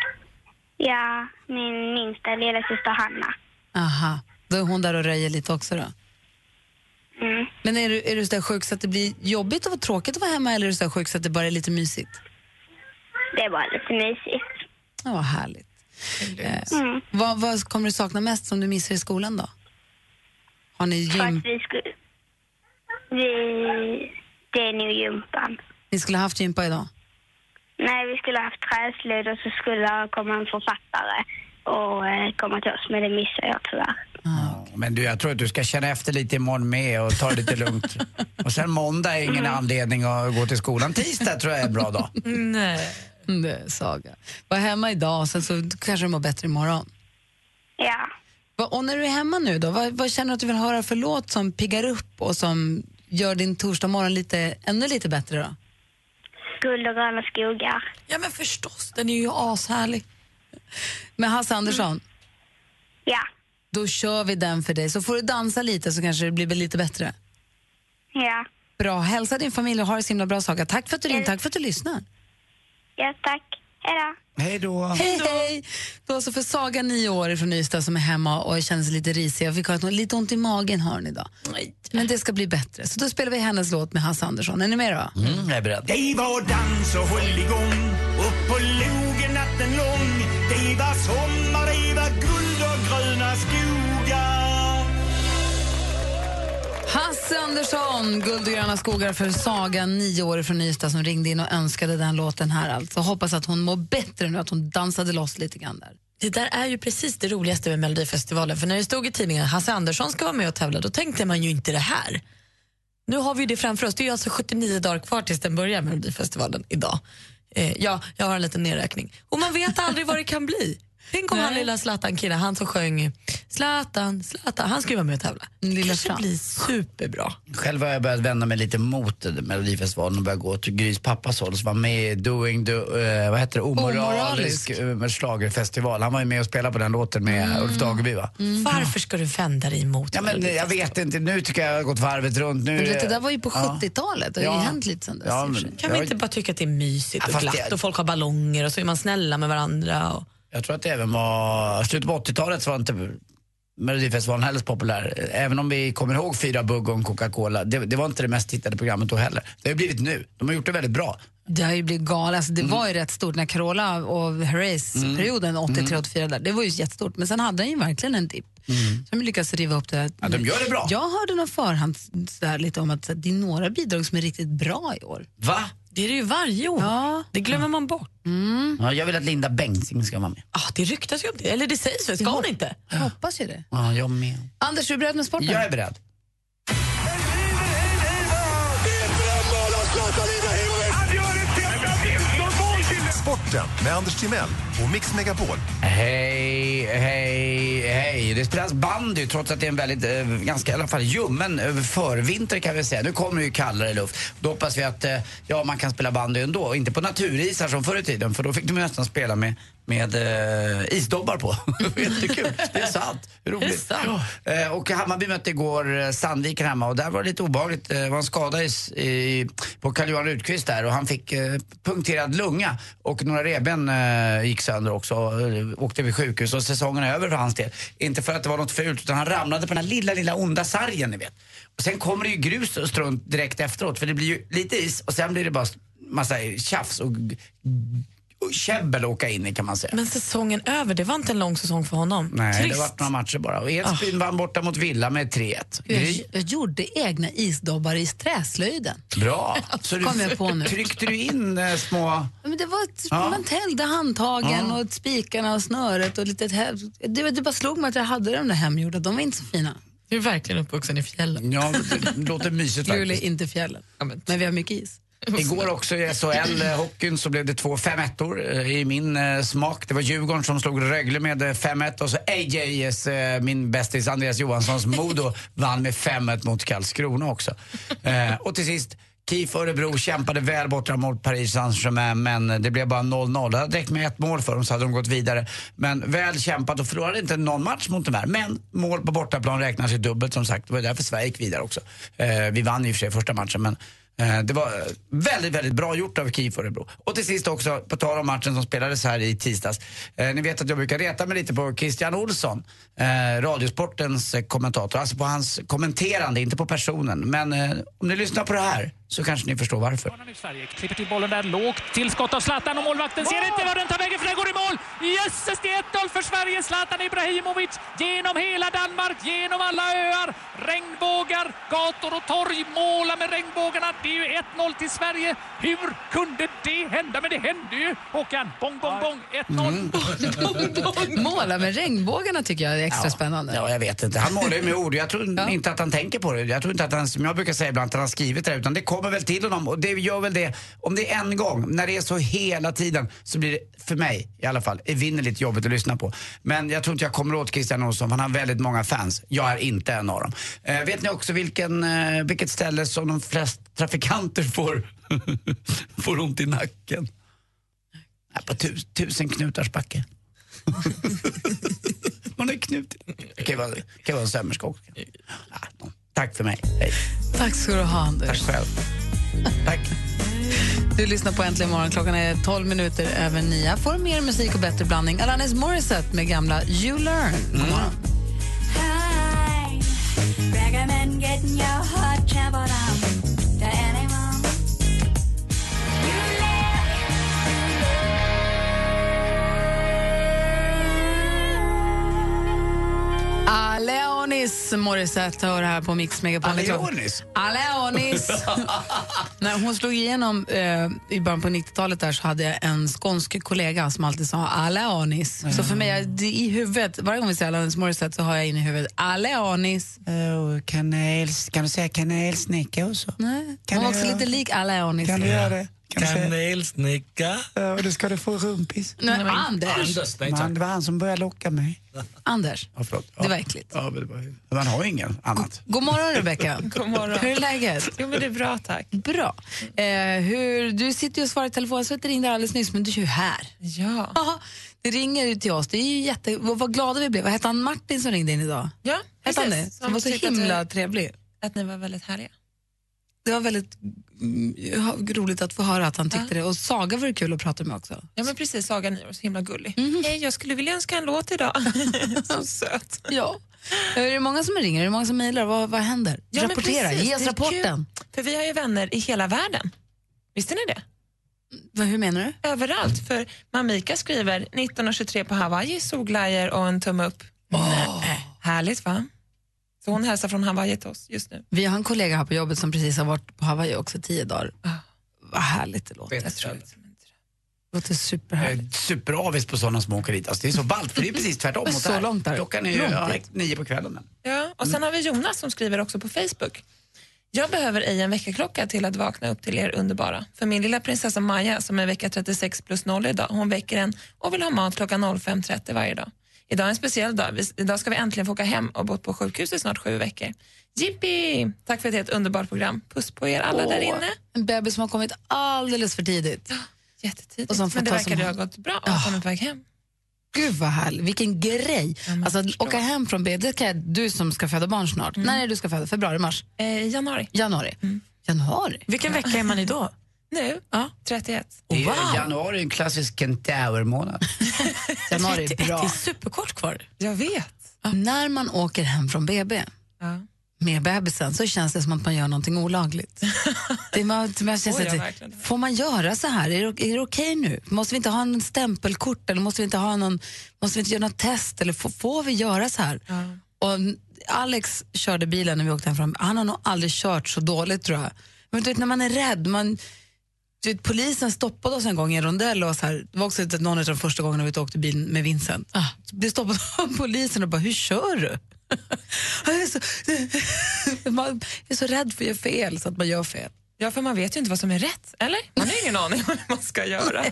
Ja, min minsta lillasyster Hanna.
Aha, då är hon där och röjer lite också då?
Mm.
Men är du, är du så där sjuk så att det blir jobbigt och vad tråkigt att vara hemma eller är du så där sjuk så att det bara är lite mysigt?
Det är bara lite mysigt. Mm.
Ja, vad härligt. Eh, vad, vad kommer du sakna mest som du missar i skolan då? Har ni
För
gym?
att vi skulle... Vi... Det är nog gympan.
Ni skulle ha haft gympa idag?
Nej, vi skulle ha haft träslöjd och så skulle det komma en författare och eh, komma till oss, men det missade jag tyvärr.
Men du, jag tror att du ska känna efter lite imorgon med och ta det lite lugnt. Och sen måndag är ingen
Mm.
anledning att gå till skolan. Tisdag tror jag är en bra dag.
Nej. Nej, Saga. Var hemma idag, sen så kanske du mår bättre imorgon.
Ja.
Va, och när du är hemma nu då, vad, vad känner du att du vill höra för låt som piggar upp och som gör din torsdag morgon lite, ännu lite bättre då?
Guld och gröna skogar.
Ja, men förstås. Den är ju ashärlig.
Med Hasse Andersson?
Ja.
Då kör vi den för dig, så får du dansa lite så kanske det blir lite bättre.
Ja.
Bra, hälsa din familj och ha det så himla bra Saga. Tack för att du ringde, tack för att du lyssnar.
Ja, tack. Hej då.
Hej då.
Hej, hej! Det var alltså för Saga, nio år, från Ystad som är hemma och känner sig lite risig. Jag fick höra att hon lite ont i magen har hon idag. Men det ska bli bättre. Så då spelar vi hennes låt med Hasse Andersson. Är ni med då?
Mm, jag är beredd.
Det var dans och håll igång upp på logen natten lång Det var sommar, det var guld och gröna skogar
Hasse Andersson, Guld och gröna skogar för Saga, nio år från Ystad som ringde in och önskade den låten här alltså. Hoppas att hon mår bättre nu, att hon dansade loss lite grann där.
Det där är ju precis det roligaste med Melodifestivalen. För när det stod i tidningen Hasse Andersson ska vara med och tävla, då tänkte man ju inte det här. Nu har vi ju det framför oss. Det är ju alltså 79 dagar kvar tills den börjar, Melodifestivalen, idag. Eh, ja, jag har en liten nedräkning. Och man vet aldrig vad det kan bli. Tänk om han lilla Zlatan-killen, han som sjöng Zlatan, Zlatan, han ska ju vara med och tävla. Lilla kanske blir superbra.
Själv har jag börjat vända mig lite mot det där Melodifestivalen och börjat gå till Grys pappas håll som var med i Doing, do, eh, vad heter det, Omoralisk, Omoralisk. schlagerfestival. Han var ju med och spelade på den låten med Ulf Dageby va?
Mm.
Mm.
Varför ska du vända dig emot
Ja, men jag vet inte, nu tycker jag jag har gått varvet runt. Nu,
Men du vet, det
eh,
där var ju på
ja.
70-talet och det har ju hänt lite sen dess.
Ja,
i och för
men-
sig.
Kan vi
Jag-
inte bara tycka att det är mysigt
Ja,
och
fast
glatt
det-
och folk har ballonger och så är man snälla med varandra. Och...
Jag tror att det även var, slutet på 80-talet så var inte Melodifestivalen heller så populär. Även om vi kommer ihåg Fyra bugg och en Coca-Cola, det, det var inte det mest tittade programmet då heller. Det har ju blivit nu, de har gjort det väldigt bra.
Det har ju blivit galet. Alltså, det
Mm.
var ju rätt stort när Carola och Herreys-perioden
Mm.
83-84, där, det var ju jättestort. Men sen hade han ju verkligen en dipp. Så de lyckas riva upp det. här.
Ja, de gör det bra.
Jag hörde någon förhand sådär lite om att så här, det är några bidrag som är riktigt bra i år.
Va?
Det är det ju varje år. Det glömmer man bort.
Ja, jag vill att Linda Bengtzing ska vara med.
Ah, det ryktas ju om det. Eller det sägs väl, ska hon inte?
Jag hoppas ju det.
Ja, jag med.
Anders, är du beredd med sporten?
Jag är beredd.
Sporten med Anders Timell och Mix Megapol.
Hej, hej, hej. Det spelas bandy trots att det är en väldigt, eh, ganska i alla fall ljummen eh, förvinter kan vi säga. Nu kommer ju kallare luft. Då hoppas vi att eh, ja, man kan spela bandy ändå. Inte på naturisar som förr i tiden för då fick de ju nästan spela med, med eh, isdobbar på. [laughs] Jättekul. Det är sant. Hur roligt. Ja. Eh, och Hammarby mötte igår eh, Sandviken hemma och där var det lite obehagligt. Eh, Det var en skada i, s- i, på Carl-Johan Rudqvist där och han fick eh, punkterad lunga och några revben eh, gick sönder också. Eh, Åkte vid sjukhus och säsongen är över för hans del. Inte för att det var något fult utan han ramlade på den här lilla, lilla onda sargen ni vet. Och sen kommer det ju grus och strunt direkt efteråt för det blir ju lite is och sen blir det bara s- massa tjafs och, g- och käbbel att åka in i kan man säga.
Men säsongen över, det var inte en lång säsong för honom.
Nej,
Trist.
det var några matcher bara. Och Edsbyn
Ah.
vann borta mot Villa med 3-1. Gry-
Jag, jag gjorde egna isdobbar i träslöjden.
Bra. Så
Kom jag på nu.
tryckte du in eh, små...
Ja, Men det var, ett-
Ja.
Man täljde handtagen
Ja.
och spikarna och snöret. Och lite, det, det bara slog mig att jag hade de där hemgjorda. De var inte så fina.
Du är verkligen uppvuxen i fjällen.
Ja, det låter mysigt
Luleå är
faktiskt.
inte fjällen, men, vi har mycket is.
Igår också i SHL, eh, hockeyn, så blev det två 5-1-or eh, i min eh, smak. Det var Djurgården som slog Rögle med eh, 5-1 och så AJs, eh, min bästis Andreas Johanssons Modo, [laughs] vann med 5-1 mot Karlskrona också. Eh, och till sist, KIF Örebro kämpade väl borta mot Paris Saint-Germain men det blev bara 0-0. Det hade räckt med ett mål för dem så hade de gått vidare. Men väl kämpat och förlorade inte någon match mot de här. Men mål på bortaplan räknas ju dubbelt som sagt. Det var därför Sverige gick vidare också. Eh, vi vann i och för sig första matchen men Eh, Det var eh, väldigt, väldigt bra gjort av KIF Örebro. Och till sist också, på tal om matchen som spelades här i tisdags. Eh, ni vet att jag brukar reta mig lite på Christian Olsson, eh, Radiosportens eh, kommentator. Alltså på hans kommenterande, inte på personen. Men eh, om ni lyssnar på det här så kanske ni förstår varför.
Sverige klipper till bollen där lågt. Tillskott av Zlatan och målvakten ser inte var den tar vägen för den går i mål. Jösses, det är 1-0 för Sverige. Zlatan Ibrahimovic genom hela Danmark, genom alla öar. Regnbågar, gator och torg, måla med regnbågarna. Det är ju 1-0 till Sverige. Hur kunde det hända? Men det hände ju, Håkan. Bong, bong, bong. 1-0.
Måla med regnbågarna tycker jag är extra spännande.
Ja, jag vet
[laughs]
inte. Han målar ju med ord. Jag tror inte att han tänker på det. Jag tror inte att han, som jag brukar säga ibland, att han har skrivit det. Utan det kommer väl till honom. Och det gör väl det. Om det är en gång, när det är så hela tiden, så blir det, för mig i alla fall, evinnerligt jobbigt att lyssna på. Men jag tror inte jag kommer åt Christian Olsson, för han har väldigt många fans. Jag är inte en av dem. Eh, vet ni också vilken, eh, vilket ställe som de flesta trafikanter får, [laughs] får ont i nacken? Nej, På tus, tusen knutars backe. Hon är knuten. Det kan ju vara, det kan ju vara en sömmerska också. Ja, no. Tack för mig. Hej.
Tack ska du ha, Anders.
Tack själv.
Du lyssnar på Äntligen morgon. Klockan är 12 minuter över nio. Här Får du mer musik och bättre blandning. Alanis Morissette med gamla You Learn. God morgon.
Recommend getting your heart trampled on. The animal.
Aleonis Alanis Morissette hör här på Mix Megapol.
Aleonis?
[laughs]
Aleonis. När hon slog igenom eh, i början på 90-talet där så hade jag en skånsk kollega som alltid sa Aleonis.
Mm.
Så för mig, jag- det, i huvudet, varje gång vi säger Alanis Morissette så har jag in i huvudet Aleonis.
Oh, kanels, kan du säga kanelsnäcka också?
Nej,
Kan
hon var också
jag-
lite lik Aleonis.
Kan du göra det?
Kanelsnäcka.
Ja, och då ska du få rumpis.
Nej, men Anders.
Anders, nej tack.
Man, det var han som började locka mig.
Anders,
Ja, förlåt.
det var äckligt.
Ja, men det var, man har ju ingen annat.
God morgon, Rebecka.
[laughs] God morgon.
Hur är läget?
Jo, men det är bra, tack.
Bra. Eh, hur, du sitter ju och svarar i telefon. Jag ringde ringde alldeles nyss, men du är ju här.
Ja.
Aha, det ringer ju till oss. Det är ju jätte... Vad vad glada vi blev. Vad hette han Martin som ringde in idag?
Ja,
Hette han det?
precis.
Som var så
tyckte att
himla
vi-
trevlig.
Att ni var väldigt härliga.
Det var väldigt mm, ja, roligt att få höra att han tyckte det. Och Saga var det kul att prata med också.
Ja men precis, Saga Nyro, så himla gullig. Hej, jag skulle vilja önska en låt idag. så söt.
Ja. Eh, Är det många som ringer? Är det många som mejlar? Vad, vad händer?
Ja, men
Rapportera,
precis,
ge oss
det är
rapporten.
kul, För vi har ju vänner i hela världen. Visste ni det?
Vad, hur menar du?
Överallt. För Mamika skriver 19.23 på Hawaii, solglajjor och en tumme upp. Äh, Härligt va? Så hon hälsar Alltså, från Hawaii till oss just nu.
Vi har en kollega här på jobbet som precis har varit på Hawaii också tio dagar. Vad härligt det låter.
Vet
Det låter
Jag
superhärligt.
är superavis på sådana som åker dit. Alltså, det är så ballt, för det är precis tvärtom mot
Så
det här.
långt där.
Klockan är ju
Långt
ja,
dit.
nio på kvällen.
Ja, och sen har vi Jonas som skriver också på Facebook. Jag behöver ej en väckarklocka till att vakna upp till er underbara. För min lilla prinsessa Maja som är vecka 36 plus 0 idag, hon väcker en och vill ha mat klockan 05.30 varje dag. Idag är en speciell dag. Vi- Idag ska vi äntligen få åka hem och bott på sjukhus i snart sju veckor. Jippi! Tack för ett helt underbart program. Puss på er alla där
Åh,
inne.
En bebis som har kommit alldeles för tidigt.
Jättetidigt.
Och som får
Men det
ta
verkar
som
det ha
hand.
gått bra och oh. kommit på väg hem.
Gud vad härligt, vilken grej. alltså att åka hem från BB, det kan jag, du som ska föda barn snart. När är det du ska föda? Februari, mars?
Mm. Eh, januari. Mm.
Januari. Januari?
Vilken vecka är man i då? Nu? 31.
Det är-
Wow.
Januari är en klassisk kentaurmånad.
Januari
Det
är
är-
bra.
det är
superkort kvar.
Jag vet.
När man åker hem från BB
Ja.
med bebisen så känns det som att man gör någonting
[laughs]
olagligt. det är man, man känns
Får jag
att, det-
verkligen
får man göra så här? Är det, o- är det okej nu? Måste vi inte ha en stämpelkort eller måste vi inte, ha någon, måste vi inte göra något test? Eller får, får vi göra så här? Och n- Alex körde bilen när vi åkte hem fram. Han har nog aldrig kört så dåligt tror jag. Men du vet, när man är rädd, man, du vet, polisen stoppade oss en gång i en rondell. Och så här, det var också ett- någon av de första gångerna vi åkte bil med Vincent.
Ah.
Så Blev stoppad av [laughs] polisen och bara, hur kör du? [laughs] jag, är så, man är så [laughs] rädd för att göra fel så att man gör fel.
Ja, för man vet ju inte vad som är rätt, eller? Man har ingen aning om vad man ska göra.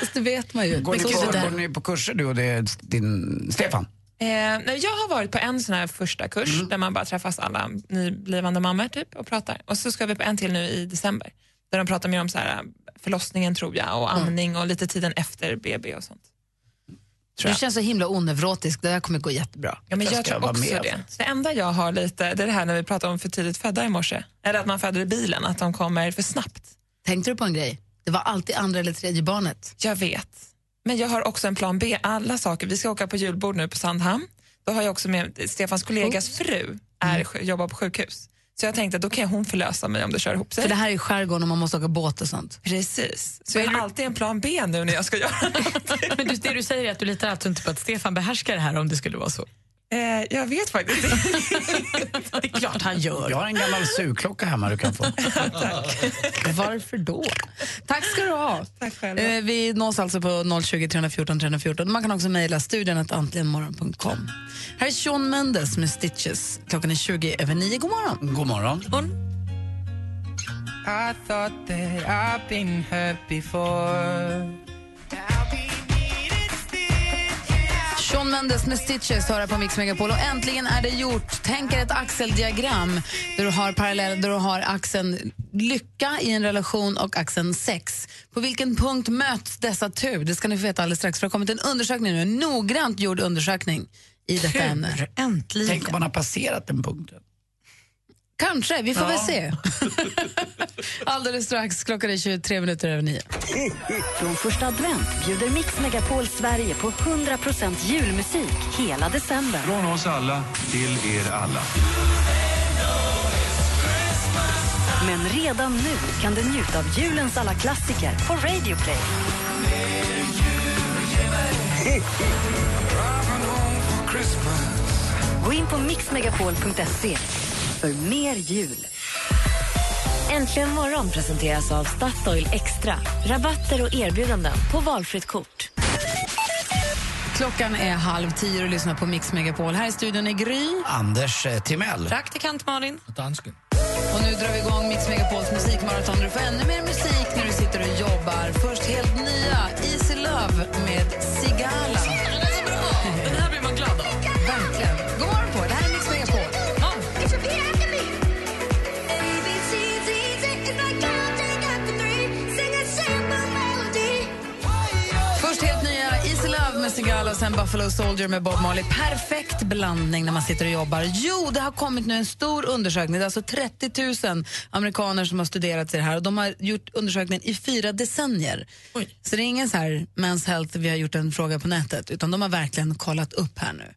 Fast det vet man ju.
Går ni,
Men
på,
gud, det där-
går ni på kurser du och det, din Stefan?
Eh, nej, jag har varit på en sån här första kurs
Mm.
där man bara träffas alla nyblivande mammor typ, och pratar. Och så ska vi på en till nu i december där de pratar mer om så här, eh, förlossningen tror jag och amning och lite tiden efter BB och sånt.
Du känns så himla onevrotisk, det här kommer gå jättebra.
Ja, men jag,
Jag ska
tror
vara
också
med, alltså.
det.
faktiskt.
Det enda jag har lite, det är det här när vi pratade om för tidigt födda i morse. Eller att man föder i bilen, att de kommer för snabbt.
Tänkte du på en grej? Det var alltid andra eller tredje barnet.
Jag vet. Men jag har också en plan B. Alla saker. Vi ska åka på julbord nu på Sandhamn. Då har jag också med Stefans kollegas fru
Mm.
är, sj- jobbar på sjukhus. Så jag tänkte att då kan hon förlösa mig om det kör ihop sig.
För det här är ju skärgården och man måste åka båt och sånt.
Precis. Så jag har alltid en plan B nu när jag ska
[laughs]
göra
Men du, det du säger är att du litar alltså inte på att Stefan behärskar det här om det skulle vara så.
eh, Jag vet faktiskt inte.
[laughs] Det är klart han gör.
Jag har en gammal surklocka hemma du kan få.
Varför då? Tack ska du ha.
Tack själv.
Eh, vi nås alltså på 020 314 314. Man kan också mejla studion att antligenmorgon.com. Här är Sean Mendes med Stitches. Klockan är 20 över 9. God morgon.
God morgon.
I thought that I've been hurt before.
Sean Mendes med Stitches hör här på Mix Megapol. Och äntligen är det gjort. Tänk er ett axeldiagram där du har, parallell, där du har axeln lycka i en relation och axeln sex. På vilken punkt möts dessa tur? Det ska ni få veta alldeles strax. För det har kommit en undersökning nu, en noggrant gjord undersökning i detta ämne.
Äntligen.
Tänk om man har passerat den punkten.
Kanske, vi får
Ja.
väl se. [laughs] Alldeles strax, klockan är 23 minuter över nio.
Från första advent bjuder Mix Megapol Sverige på 100% julmusik hela december.
Från oss alla till er alla.
Men redan nu kan du njuta av julens alla klassiker på Radio Play. Gå in på mixmegapol.se för mer jul. Äntligen morgon presenteras av Statoil Extra. Rabatter och erbjudanden på valfritt kort.
Klockan är halv tio och lyssnar på Mix Megapol. Här i studion är Gry.
Anders eh, Timell.
Praktikant Malin.
Dansken.
Och nu drar vi igång Mix Megapols musikmaraton. Du får ännu mer musik när du sitter och jobbar. Först helt nya Easy Love med Sigala.
Den här blir man glad av.
Verkligen. God morgon på er. Det här är Mix Megapol. Först helt nya Easy Love med Sigala och sen Buffalo Soldier med Bob Marley. Perfekt blandning när man sitter och jobbar. Jo, det har kommit nu en stor undersökning. Det är alltså 30 000 amerikaner som har studerat det här och de har gjort undersökningen i fyra decennier. Så det är ingen så här Men's Health, vi har gjort en fråga på nätet, utan de har verkligen kollat upp här nu.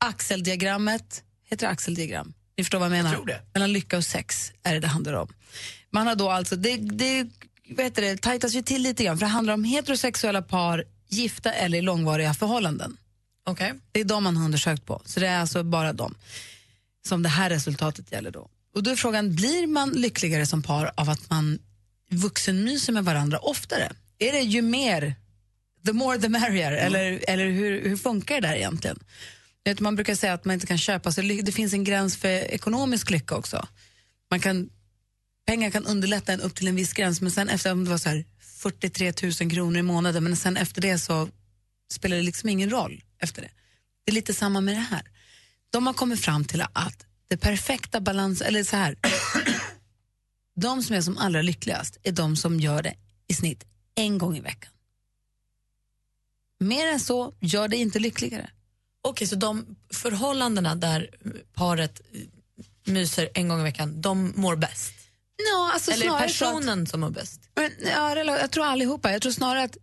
Axeldiagrammet, heter det axeldiagram? Ni förstår vad jag menar?
Jag tror det.
Mellan lycka och sex är det det handlar om. Man har då alltså, det, det, vad heter det tajtas ju till lite grann för det handlar om heterosexuella par, gifta eller i långvariga förhållanden.
Okay.
Det är de man har undersökt på, så det är alltså bara de som det här resultatet gäller då. Och då är frågan, blir man lyckligare som par av att man vuxenmyser med varandra oftare? Är det ju mer, the more the merrier,
Mm.
eller, eller hur, hur funkar det där egentligen? Jag Vet, Eh, man brukar säga att man inte kan köpa sig ly- det finns en gräns för ekonomisk lycka också. Man kan, pengar kan underlätta en upp till en viss gräns, men sen efter, om det var så här 43 000 kronor i månaden, men sen efter det så spelar det liksom ingen roll efter det. Det är lite samma med det här. De har kommit fram till att det perfekta balans, eller så här, [clears throat] de som är som allra lyckligast är de som gör det i snitt en gång i veckan. Mer än så gör det inte lyckligare.
Okej, så de förhållandena där paret myser en gång i veckan, de mår bäst?
Ja, alltså
Eller
snarare
personen som mår bäst?
Men, ja, rela- jag tror allihopa. Jag tror snarare att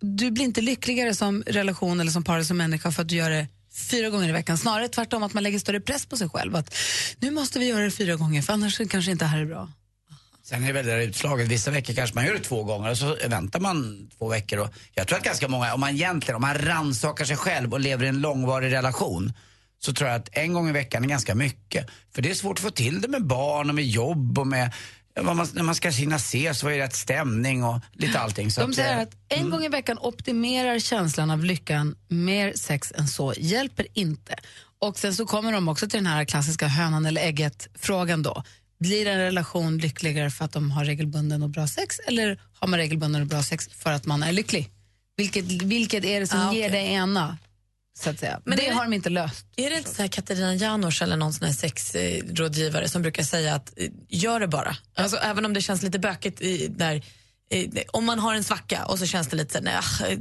du blir inte lyckligare som relation eller som par eller som människa för att du gör det fyra gånger i veckan. Snarare tvärtom att man lägger större press på sig själv. Att nu måste vi göra det fyra gånger för annars kanske inte det här är bra.
Sen är det väl det där utslaget. Vissa veckor kanske man gör det två gånger och så väntar man två veckor. Och jag tror att ganska många, om man egentligen, om man rannsakar sig själv och lever i en långvarig relation så tror jag att en gång i veckan är ganska mycket. För det är svårt att få till det med barn och med jobb och med ja, vad man, när man ska hinna ses och i rätt stämning och lite allting. Så
De säger
eh,
att en gång i veckan optimerar känslan av lyckan. Mer sex än så hjälper inte. Och sen så kommer de också till den här klassiska hönan eller ägget-frågan då. Blir en relation lyckligare för att de har regelbunden och bra sex eller har man regelbunden och bra sex för att man är lycklig? Vilket, vilket är det som
Ah,
ger
okej.
det ena? Så att säga.
Men
det
är det-
har de inte löst.
Är det inte så här Katarina Janouch eller någon sån här sexrådgivare som brukar säga att eh, gör det bara. Alltså, även om det känns lite bökigt i, där, eh, om man har en svacka och så känns det lite så här, nej, ah, eh,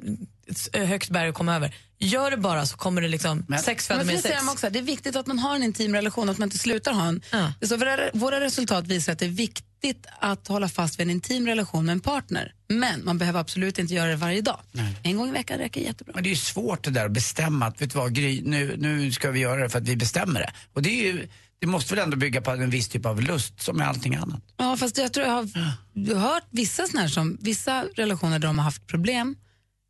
s- eh, högt berg att komma över. Gör det bara så kommer det liksom sex föder
Men för
mer
det säger
sex.
de också, det är viktigt att man har en intim relation, att man inte slutar ha en. Det är Så våra, våra resultat visar att det är viktigt att hålla fast vid en intim relation med en partner. Men man behöver absolut inte göra det varje dag. En gång i veckan räcker jättebra.
Men det är ju svårt det där att bestämma att vet du vad, Gry, nu, nu ska vi göra det för att vi bestämmer det. Och det, är ju, det måste väl ändå bygga på en viss typ av lust som med allting annat.
Ja, fast jag tror jag har jag har hört vissa, såna här som, vissa relationer där de har haft problem.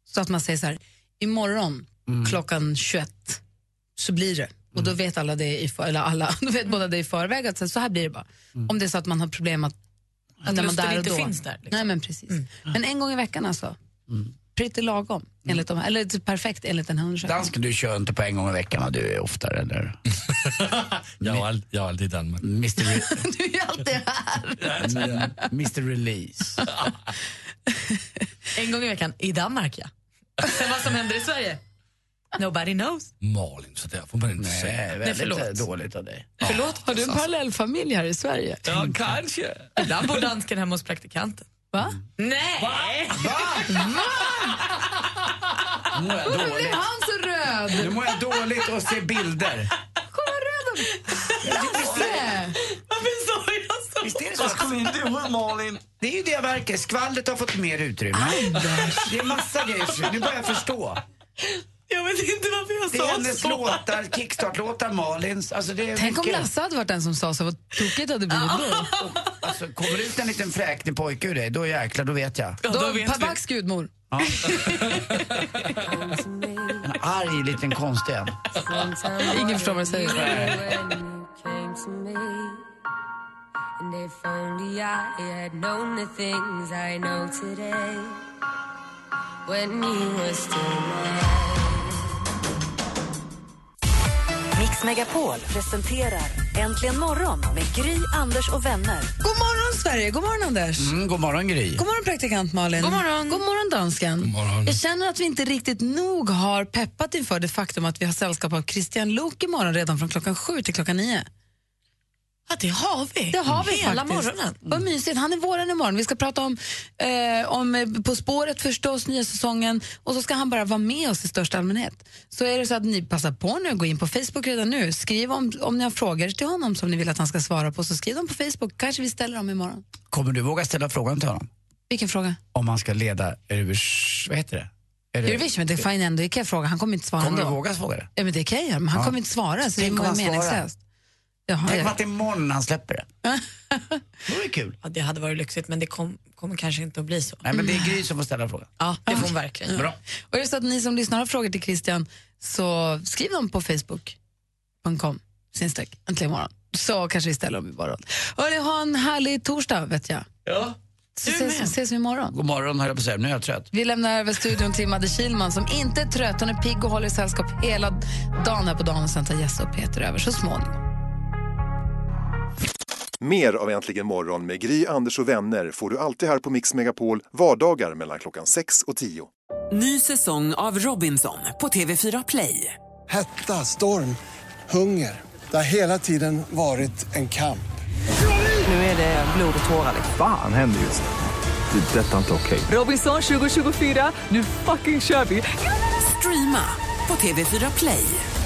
Så att man säger så här, imorgon klockan 21 så blir det. Och då vet alla det i, för, eller alla, [laughs] då vet båda det i förväg att så här- så här blir det bara. Om det är så att man har problem att,
Att lusten inte finns där, liksom. Mm.
Nej men precis. Men en gång i veckan alltså. Pretty lagom, enligt de här, eller typ perfekt enligt den här undersökningen. [laughs]
Dansken, du kör inte på en gång i veckan och du är oftare, eller?
Jag har aldrig, jag har aldrig i Danmark.
Mr. Re-
du är ju alltid här.
Mm, Mr Release.
En gång i veckan i Danmark ja. [laughs] Sen vad som händer i Sverige? Nobody knows.
Malin, så där får man inte
Nej,
säga.
väldigt Nej, förlåt. dåligt av dig.
Förlåt,
Har du en parallellfamilj här i Sverige?
Ja, kanske.
Ibland bor dansken hemma hos praktikanten.
Va?
Nej!
Nu mår jag
Varför blev
dåligt.
han så röd?
Nu mår jag dåligt och ser bilder.
Varför sa jag så?
Visst är det så? Det är ju det verket. Skvallret har fått mer utrymme. Det är massa grejer. Nu börjar jag förstå.
Jag vet inte varför jag
Det är hennes låtar, kickstart-låtar, Malins. Alltså det är
Tänk om
mycket.
Lasse hade varit den som sa så, vad tokigt det hade [laughs] blivit då.
Alltså, kommer det ut en liten fräknig pojke ur dig, då jäklar, då vet jag.
Då, Pabaks gudmor.
Ja. arg liten konstig en.
Ingen förstår vad du säger.
And if only I had known the things I know today when you were still mine.
Mix Megapol presenterar Äntligen morgon med Gry, Anders och vänner.
God morgon, Sverige! God morgon, Anders!
Mm, god morgon, Gry.
God morgon, praktikant Malin. God morgon, God morgon dansken. God
morgon.
Jag känner att vi inte riktigt nog har peppat inför det faktum att vi har sällskap av Christian Lok imorgon redan från klockan sju till klockan nio.
Ja, det har vi.
Det har vi
Hela
faktiskt.
morgonen. Mm.
Vad mysigt. Han är våren imorgon. Vi ska prata om, eh, om eh, På spåret förstås, nya säsongen och så ska han bara vara med oss i största allmänhet. Så är det så att ni passar på nu, gå in på Facebook redan nu. Skriv om, om ni har frågor till honom som ni vill att han ska svara på, så skriv dem på Facebook. Kanske vi ställer dem imorgon.
Kommer du våga ställa frågan till honom?
Vilken fråga?
Om han ska leda Eurovision, vad heter det? Är det-
Eurovision, men det är fine ändå. Det kan jag fråga. Han kommer inte svara
Kommer du
ändå.
våga svara det?
Ja, men det kan jag göra, men han
Ja.
kommer inte svara så det
Tänk om
är
han svarar.
meningslöst. Jaha,
Tänk om
jag-
att det är imorgon han släpper det. Det vore kul.
Ja, det hade varit lyxigt, men det kom, kommer kanske inte att bli så.
Nej, men det är Gry som får ställa frågan.
Ja, det får hon verkligen.
Bra.
Och är det så att ni som lyssnar har frågor till Christian så skriv dem på facebook.com snedstreck äntligen morgon. Så kanske vi ställer dem i morgon. Hörni, ha en härlig torsdag vet jag.
Ja.
Så ses, ses vi imorgon.
God morgon, höll jag på att säga. Nu är jag trött.
Vi lämnar över studion till Madde Kilman som inte är trött. Hon är pigg och håller sällskap hela dagen här på dagen och sen tar Jesse och Peter över så småningom.
Mer av Äntligen morgon med Gry, Anders och vänner får du alltid här på Mix Megapol vardagar mellan klockan 6 och 10.
Ny säsong av Robinson på TV4 Play.
Hetta, storm, hunger. Det har hela tiden varit en kamp.
Nu är det blod och tårar. liksom.
Fan händer just nu. Det. är Detta är inte okej.
Robinson 2024, nu fucking kör vi! Streama på TV4 Play.